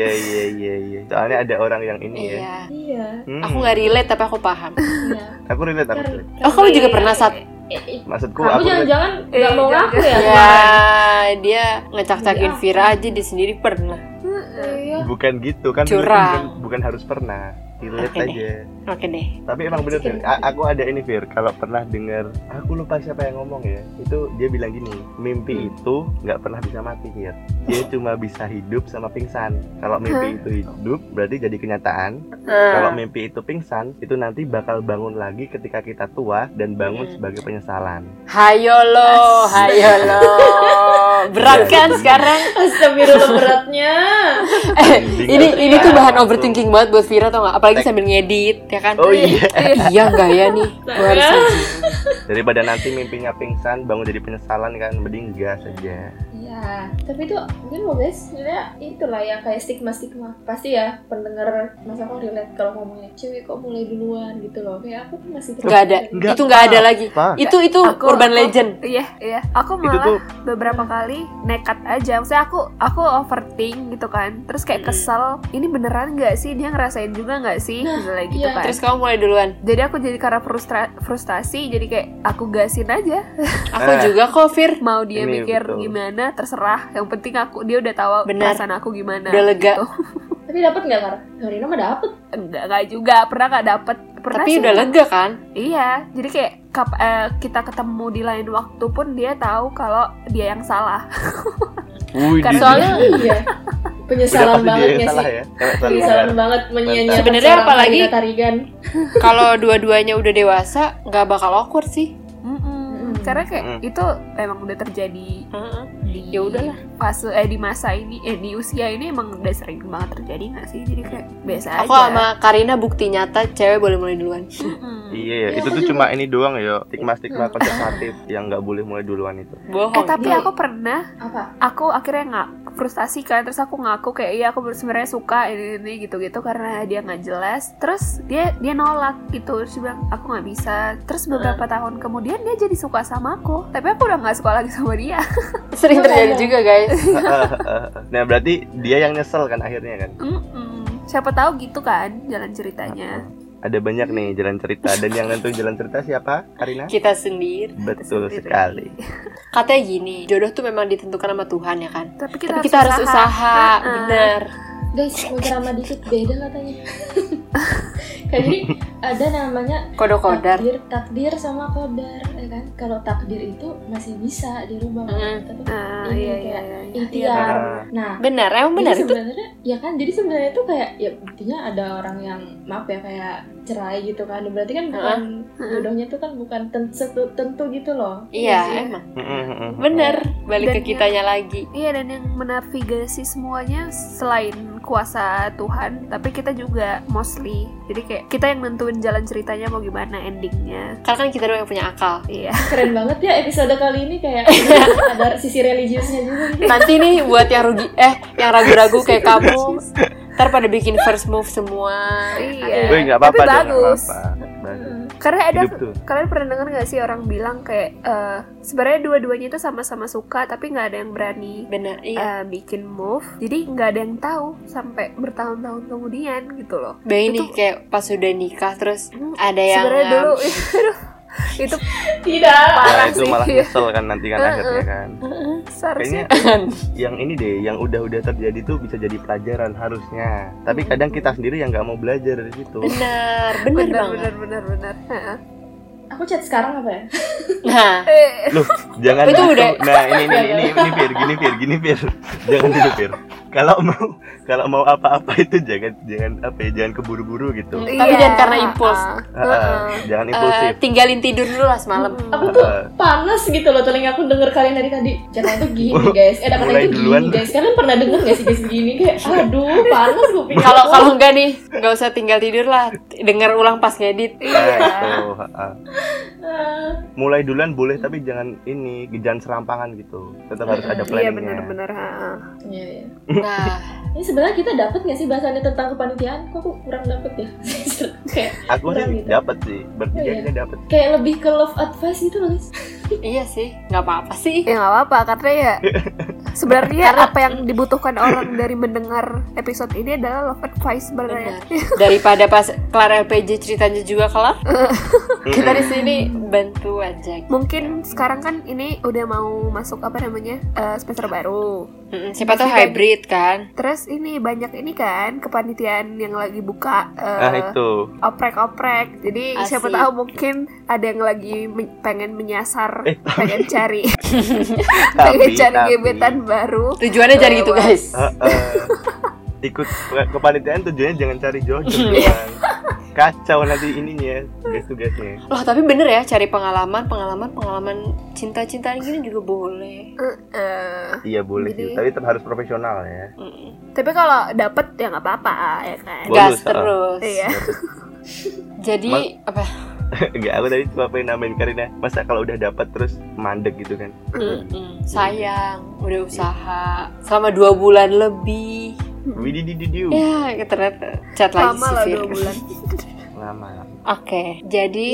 Speaker 3: Iya, iya, iya, iya. Soalnya ada orang yang ini ya.
Speaker 1: Iya.
Speaker 4: iya
Speaker 3: Hmm,
Speaker 1: Aku nggak relate tapi aku paham.
Speaker 4: iya
Speaker 3: Aku relate, aku
Speaker 4: Karena-
Speaker 3: relate.
Speaker 1: Oh, kamu juga pernah saat
Speaker 4: eh, eh,
Speaker 3: Maksudku
Speaker 4: kamu
Speaker 3: aku relate.
Speaker 4: jangan-jangan
Speaker 2: Eh,
Speaker 4: gak mau
Speaker 2: jangan-
Speaker 4: ngaku ya
Speaker 2: iya.
Speaker 1: ya
Speaker 4: kemarin?
Speaker 1: dia ngecak-cakin
Speaker 4: Iya.
Speaker 1: Vira aja dia sendiri pernah.
Speaker 2: Iya.
Speaker 3: Bukan gitu kan relate
Speaker 1: Curang.
Speaker 3: bukan, bukan harus pernah. Relate
Speaker 1: Oke deh.
Speaker 3: aja.
Speaker 1: Oke deh.
Speaker 3: Tapi emang bener Fir, A- aku ada ini Fir, kalau pernah denger, aku lupa siapa yang ngomong ya Itu dia bilang gini, mimpi itu nggak pernah bisa mati Fir Dia cuma bisa hidup sama pingsan Kalau mimpi itu hidup, berarti jadi kenyataan Kalau mimpi itu pingsan, itu nanti bakal bangun lagi ketika kita tua Dan bangun
Speaker 1: Hmm.
Speaker 3: sebagai penyesalan
Speaker 1: Hayo lo, hayo lo. Berat kan
Speaker 3: Iya.
Speaker 1: sekarang?
Speaker 4: Astagfirullah beratnya
Speaker 1: Eh, ini ini tuh bahan
Speaker 3: Langsung.
Speaker 1: overthinking banget buat Vira tau gak? Apalagi lagi
Speaker 3: praktek.
Speaker 1: sambil ngedit ya kan
Speaker 3: Oh iya,
Speaker 1: iya nggak ya nih gue
Speaker 2: Iya.
Speaker 1: harus rajin.
Speaker 3: daripada nanti mimpinya pingsan bangun jadi penyesalan kan mending gas aja.
Speaker 4: Ya, tapi itu mungkin mau guys, sebenarnya itulah yang kayak stigma-stigma. Pasti ya pendengar masa aku relate kalau ngomongnya cewek kok mulai duluan gitu loh. Kayak aku tuh masih
Speaker 1: nggak ada
Speaker 3: Nggak
Speaker 1: itu nggak ada
Speaker 3: apa.
Speaker 1: lagi
Speaker 3: Pak,
Speaker 1: itu itu
Speaker 2: Aku-
Speaker 1: urban
Speaker 2: aku-
Speaker 1: legend
Speaker 2: Iya, iya. Aku
Speaker 3: itu
Speaker 2: malah
Speaker 3: tuh
Speaker 2: beberapa kali nekat aja. Maksudnya aku aku overthink gitu kan. Terus kayak
Speaker 1: Mm-mm.
Speaker 2: kesel, ini beneran nggak sih dia ngerasain juga nggak sih?
Speaker 4: Nah,
Speaker 2: Misalnya gitu
Speaker 4: iya.
Speaker 2: kan.
Speaker 1: terus kamu mulai duluan
Speaker 2: jadi aku jadi karena frustra- frustasi jadi kayak aku gasin aja
Speaker 1: aku
Speaker 3: Eh.
Speaker 1: juga kok Fir
Speaker 2: mau dia
Speaker 3: Ini
Speaker 2: mikir
Speaker 3: Iya, betul.
Speaker 2: gimana terserah yang penting aku dia udah tahu
Speaker 1: Benar.
Speaker 2: perasaan aku gimana
Speaker 1: Udah lega.
Speaker 2: gitu.
Speaker 4: Tapi dapat nggak Kar? Karina mah dapat.
Speaker 2: enggak enggak juga pernah nggak dapet pernah
Speaker 1: tapi
Speaker 2: sih.
Speaker 1: udah lega kan
Speaker 2: iya jadi kayak kap- eh, kita ketemu di lain waktu pun dia tahu kalau dia yang salah
Speaker 3: wih,
Speaker 2: Karena-
Speaker 3: di-
Speaker 4: Soalnya
Speaker 1: Hmm.
Speaker 4: iya.
Speaker 3: udah
Speaker 4: Penyesalan
Speaker 3: pasti dia
Speaker 4: banget
Speaker 3: yang
Speaker 4: ya
Speaker 3: salah
Speaker 4: sih.
Speaker 3: ya. Cewek selalu
Speaker 4: Penyesalan
Speaker 3: benar.
Speaker 4: banget menyia-nyiakan
Speaker 1: Sebenarnya
Speaker 4: seorang
Speaker 1: apalagi-
Speaker 4: Karina Tarigan.
Speaker 1: kalau dua-duanya udah dewasa nggak bakal awkward sih
Speaker 2: Mm-mm. karena kayak
Speaker 3: Mm.
Speaker 2: itu emang udah terjadi di
Speaker 1: Ya udahlah.
Speaker 2: fase eh di masa ini eh di usia ini emang udah sering banget terjadi nggak sih jadi kayak biasa
Speaker 1: aku
Speaker 2: aja
Speaker 1: sama Karina bukti nyata cewek boleh mulai duluan
Speaker 2: Mm-mm.
Speaker 3: Iya ya,
Speaker 4: Iya,
Speaker 3: itu
Speaker 4: aku
Speaker 3: tuh
Speaker 4: juga.
Speaker 3: cuma ini doang ya, stigma-stigma
Speaker 2: Iya.
Speaker 3: konservatif yang nggak boleh mulai duluan itu.
Speaker 1: bohong
Speaker 2: eh tapi
Speaker 4: Iya.
Speaker 2: aku pernah
Speaker 4: Apa?
Speaker 2: aku akhirnya nggak frustasi kan terus aku ngaku kayak iya aku sebenarnya suka ini ini gitu gitu karena dia nggak jelas terus dia dia nolak gitu terus dia bilang aku nggak bisa terus
Speaker 1: Eh.
Speaker 2: beberapa tahun kemudian dia jadi suka sama aku tapi aku udah nggak suka lagi sama dia
Speaker 1: sering
Speaker 2: ya?
Speaker 1: terjadi juga guys
Speaker 2: Iya.
Speaker 3: nah berarti dia yang nyesel kan akhirnya kan.
Speaker 2: Mm-mm. siapa tahu gitu kan jalan ceritanya
Speaker 3: Ada banyak nih jalan cerita dan yang nentuin jalan cerita siapa? Karina?
Speaker 1: kita sendiri
Speaker 3: Betul
Speaker 2: Sendiri.
Speaker 3: sekali.
Speaker 1: katanya gini jodoh tuh memang ditentukan sama Tuhan ya kan
Speaker 2: tapi kita,
Speaker 1: tapi kita harus usaha,
Speaker 2: Heeh.
Speaker 1: bener
Speaker 4: Guys, mau ceramah dikit beda katanya. Jadi ada namanya
Speaker 1: kodo kodar
Speaker 4: takdir takdir sama kodar ya kan kalau takdir itu masih bisa dirubah
Speaker 1: Mm.
Speaker 4: tapi
Speaker 2: Ah, iya,
Speaker 4: Ini
Speaker 2: iya,
Speaker 4: kayak
Speaker 2: iya, iya.
Speaker 4: ikhtiar
Speaker 3: Ah.
Speaker 4: nah
Speaker 1: bener emang bener
Speaker 4: jadi
Speaker 1: itu
Speaker 4: sebenarnya ya kan jadi sebenarnya itu kayak ya buktinya ada orang yang maaf ya kayak cerai gitu kan berarti kan bukan jodohnya itu kan bukan tentu tentu gitu loh sih.
Speaker 1: iya
Speaker 3: mm,
Speaker 1: emang bener balik
Speaker 2: Dan
Speaker 1: ke kitanya lagi
Speaker 2: Iya dan yang menavigasi semuanya selain kuasa Tuhan, tapi kita juga mostly. Jadi kayak kita yang nentuin jalan ceritanya mau gimana endingnya.
Speaker 1: karena kan kita doang yang punya akal
Speaker 2: Iya.
Speaker 4: keren banget ya episode kali ini kayak ada sisi religiusnya juga gitu
Speaker 1: nanti nih buat yang rugi eh yang ragu-ragu kayak kamu ntar pada bikin first move semua
Speaker 2: iya.
Speaker 3: Gue nggak apa-apa
Speaker 2: Tapi
Speaker 3: dong, nggak
Speaker 2: bagus.
Speaker 3: apa-apa. Bagus.
Speaker 2: Karena ada
Speaker 3: Hidup tuh.
Speaker 2: kalian pernah dengar nggak sih orang bilang kayak eh, sebenarnya dua-duanya itu sama-sama suka tapi nggak ada yang berani
Speaker 1: bener iya
Speaker 2: eh, bikin move. Jadi nggak ada yang tahu sampai bertahun-tahun kemudian gitu loh.
Speaker 1: Bayi nih
Speaker 2: itu-
Speaker 1: kayak pas sudah nikah terus
Speaker 2: Hmm,
Speaker 1: ada yang
Speaker 2: sebenarnya
Speaker 1: um,
Speaker 2: dulu aduh, itu
Speaker 4: tidak
Speaker 3: Nah,
Speaker 2: parah
Speaker 3: itu
Speaker 2: sih.
Speaker 3: malah nyesel kan nanti kan akhirnya kan.
Speaker 2: Seharusnya
Speaker 3: Kayaknya yang ini deh, yang udah-udah terjadi tuh bisa jadi pelajaran harusnya.
Speaker 2: Iya.
Speaker 3: Tapi kadang kita sendiri yang nggak mau belajar dari situ.
Speaker 1: bener bener
Speaker 2: benar
Speaker 1: banget
Speaker 2: benar benar benar. Heeh.
Speaker 4: aku chat sekarang apa ya
Speaker 1: nah
Speaker 2: Eh.
Speaker 3: Loh, jangan
Speaker 1: Itu
Speaker 3: gitu.
Speaker 1: udah.
Speaker 3: Nah, ini ini ini ini Fir, gini Fir, gini Fir. Jangan gitu Fir. Kalau mau kalau mau apa-apa itu jangan jangan apa ya, jangan keburu-buru gitu.
Speaker 2: Mm.
Speaker 1: Hmm.
Speaker 2: iya.
Speaker 1: Tapi jangan karena impuls.
Speaker 2: Ah,
Speaker 3: Ha-ha, jangan impulsif. Nah,
Speaker 1: eh, tinggalin tidur dulu lah semalam
Speaker 2: Hmm.
Speaker 4: aku tuh
Speaker 3: Ha-ha.
Speaker 4: panas gitu loh telinga aku denger kalian dari tadi jangan itu gini guys eh kata
Speaker 3: Mulai
Speaker 4: itu
Speaker 3: duluan.
Speaker 4: gini guys kalian pernah denger gak sih guys begini kayak aduh panas kuping
Speaker 1: kalau kalau enggak nih nggak usah tinggal tidur lah denger ulang pas ngedit
Speaker 3: Nah, itu, ha-ha. Mulai duluan boleh tapi jangan ini jangan serampangan gitu. Tetap harus ada
Speaker 2: Iya
Speaker 3: planningnya.
Speaker 2: benar-benar.
Speaker 4: Iya, iya.
Speaker 1: nah
Speaker 4: ini sebenarnya kita dapat gak sih bahasannya tentang kepanitiaan kok aku kurang dapet ya kayak
Speaker 3: Aku sih
Speaker 4: Kurang gitu.
Speaker 3: dapat sih, bertiga
Speaker 4: Oh, iya.
Speaker 3: kita dapat.
Speaker 4: kayak lebih ke love advice gitu loh guys
Speaker 1: iya sih nggak apa-apa sih
Speaker 2: Ya nggak apa-apa karena ya sebenarnya apa yang dibutuhkan orang dari mendengar episode ini adalah love advice sebenarnya.
Speaker 1: Benar. daripada pas kelar LPG ceritanya juga kelar kita di sini bantu aja
Speaker 2: Mungkin sekarang kan ini udah mau masuk apa namanya eh, semester baru.
Speaker 1: Mm-mm, siapa tahu
Speaker 2: Masih banyak.
Speaker 1: hybrid kan
Speaker 2: Terus ini banyak ini kan kepanitiaan yang lagi buka eh,
Speaker 3: Nah, itu.
Speaker 2: oprek-oprek. Jadi
Speaker 1: Asik.
Speaker 2: siapa tahu mungkin ada yang lagi men- pengen menyasar,
Speaker 3: Eh,
Speaker 2: pengen cari, pengen
Speaker 3: Tapi,
Speaker 2: cari
Speaker 3: tapi,
Speaker 2: gebetan baru.
Speaker 1: tujuannya jadi
Speaker 2: Iya,
Speaker 1: gitu guys Iya.
Speaker 3: ha-ha. ikut kepanitiaan tujuannya jangan cari jodoh doang. kacau nanti ininya tugas-tugasnya
Speaker 1: Loh tapi bener ya cari pengalaman, pengalaman, pengalaman cinta-cintaan gini juga boleh.
Speaker 2: Heeh.
Speaker 3: iya boleh sih
Speaker 2: Jadi-
Speaker 3: tapi tetap harus profesional ya
Speaker 1: Mm.
Speaker 2: Tapi kalau dapet ya nggak apa-apa ya kan.
Speaker 3: Boleh. Bonus,
Speaker 1: Gas terus.
Speaker 2: Iya.
Speaker 1: Jadi apa?
Speaker 3: enggak aku tadi cuma pengen nambahin Karina masa kalau udah dapat terus mandek gitu kan
Speaker 1: Mm-mm. Sayang, udah usaha selama dua bulan lebih.
Speaker 3: Wididididiu
Speaker 1: Ya, ternyata chat lagi
Speaker 2: Lama
Speaker 1: sih,
Speaker 2: lah
Speaker 1: Fir.
Speaker 2: dua bulan.
Speaker 3: lama
Speaker 1: Oke,
Speaker 2: Ya.
Speaker 1: jadi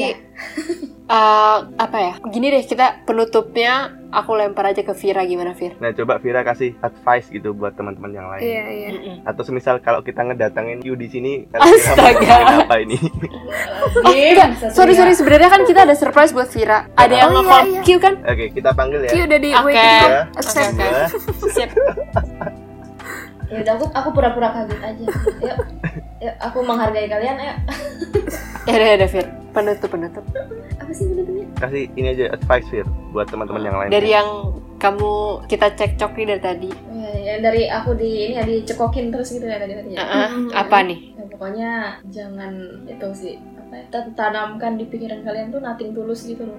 Speaker 1: eh, apa ya? Gini deh kita penutupnya aku lempar aja ke Vira gimana Vir?
Speaker 3: nah coba Vira kasih advice gitu buat teman-teman yang lain
Speaker 2: Iya iya.
Speaker 1: Mm-mm.
Speaker 3: atau semisal kalau kita ngedatengin you di sini kalau Vira mau
Speaker 1: Astaga.
Speaker 3: ngomongin apa ini
Speaker 1: Oh, enggak. Sorry sorry sebenarnya kan kita ada surprise buat Vira. Ada yang
Speaker 2: Oh, iya,
Speaker 1: nge-call
Speaker 2: iya.
Speaker 1: Q kan?
Speaker 3: oke kita panggil ya
Speaker 2: Ki udah di
Speaker 1: Oke.
Speaker 2: waiting room.
Speaker 3: Iya.
Speaker 2: Accept.
Speaker 1: Oke,
Speaker 3: Dua.
Speaker 1: Siap.
Speaker 4: Ya udah aku aku pura-pura kaget aja. Yuk. Yuk, aku menghargai kalian. Ayo.
Speaker 1: Ya udah ya udah, Vir. Penutup penutup.
Speaker 4: Apa sih bentuknya?
Speaker 3: kasih ini aja advice Fir buat teman-teman yang lain ya.
Speaker 1: Dari yang kamu kita cekcok nih dari tadi.
Speaker 4: Ya, ya, dari aku di ini ya dicekokin terus gitu ya tadi tadi. Ya.
Speaker 1: Heeh. Apa nih?
Speaker 4: Ya, pokoknya jangan itu sih apa ya, tan- tanamkan di pikiran kalian tuh nothing tulus gitu loh.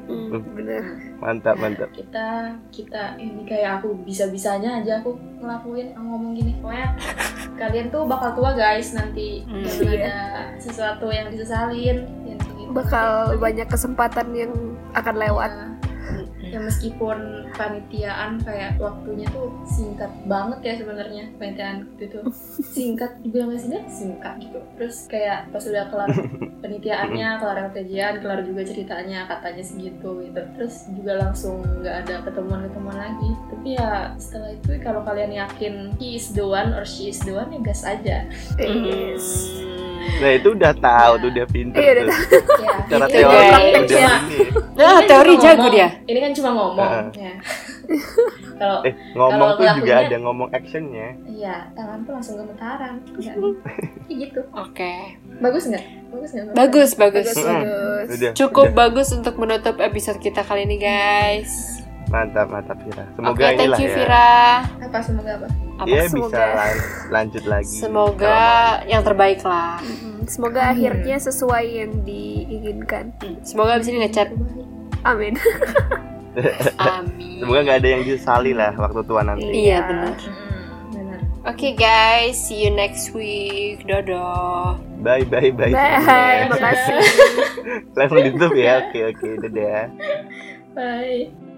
Speaker 2: Bener.
Speaker 3: mantap mantap
Speaker 4: kita kita ini kayak aku bisa bisanya aja aku ngelakuin ngomong gini pokoknya kalian tuh bakal tua guys nanti
Speaker 1: Hmm.
Speaker 4: Bakal
Speaker 2: iya.
Speaker 4: ada sesuatu yang disesalin yang gitu. begitu.
Speaker 2: Bakal banyak kesempatan yang akan lewat.
Speaker 4: Nah,
Speaker 3: Mm.
Speaker 4: ya meskipun panitiaan kayak waktunya tuh singkat banget ya sebenarnya panitiaan waktu itu singkat dibilang nggak singkat singkat gitu terus kayak pas udah kelar penitiaannya kelar kerjaan kelar juga ceritanya katanya segitu gitu terus juga langsung nggak ada ketemuan ketemuan lagi tapi ya setelah itu kalau kalian yakin he is the one or she is the one ya gas aja Hmm.
Speaker 2: Yes.
Speaker 3: nah itu udah tahu tuh udah pinter
Speaker 2: Iya, udah
Speaker 3: tuh
Speaker 4: ya
Speaker 3: cara
Speaker 1: Itu
Speaker 3: teori
Speaker 1: udah
Speaker 3: udah
Speaker 2: praktek ya.
Speaker 3: ini.
Speaker 1: Nah,
Speaker 4: Ini kan
Speaker 1: teori
Speaker 4: cuma
Speaker 1: jago
Speaker 4: ngomong.
Speaker 1: dia.
Speaker 4: ini kan cuma ngomong ya kalau
Speaker 3: eh ngomong
Speaker 4: Kalau
Speaker 3: tuh juga
Speaker 4: ngelakuinnya-
Speaker 3: ada ngomong actionnya
Speaker 4: Iya, tangan tuh langsung gemetaran. Enggak. Kayak gitu.
Speaker 1: Oke.
Speaker 4: Bagus nggak? Bagus nggak?
Speaker 1: Bagus, bagus.
Speaker 2: Bagus
Speaker 3: Mm-mm.
Speaker 2: bagus.
Speaker 3: udah
Speaker 1: Cukup
Speaker 3: udah.
Speaker 1: bagus untuk menutup episode kita kali ini, guys.
Speaker 3: mantap mantap Vira
Speaker 1: Oke,
Speaker 3: semoga
Speaker 1: thank
Speaker 3: inilah
Speaker 1: you
Speaker 3: ya
Speaker 1: Vira.
Speaker 4: Apa semoga apa?
Speaker 1: Apa?
Speaker 3: ya bisa
Speaker 2: semoga.
Speaker 3: lan- lanjut lagi
Speaker 1: Semoga yang terbaik lah.
Speaker 2: Mm-mm. Semoga
Speaker 4: Hmm.
Speaker 2: akhirnya sesuai yang diinginkan.
Speaker 1: Semoga abis ini ngechat.
Speaker 2: Amin.
Speaker 3: Kalau mau.
Speaker 1: Amin.
Speaker 3: semoga nggak ada yang disali lah waktu tua nanti
Speaker 1: Iya benar.
Speaker 3: ya.
Speaker 4: Hmm, Benar.
Speaker 1: Oke guys, see you next week. Dadah.
Speaker 3: bye bye bye
Speaker 2: Bye. Makasih.
Speaker 3: langsung ditutup ya oke oke dadah
Speaker 4: Bye.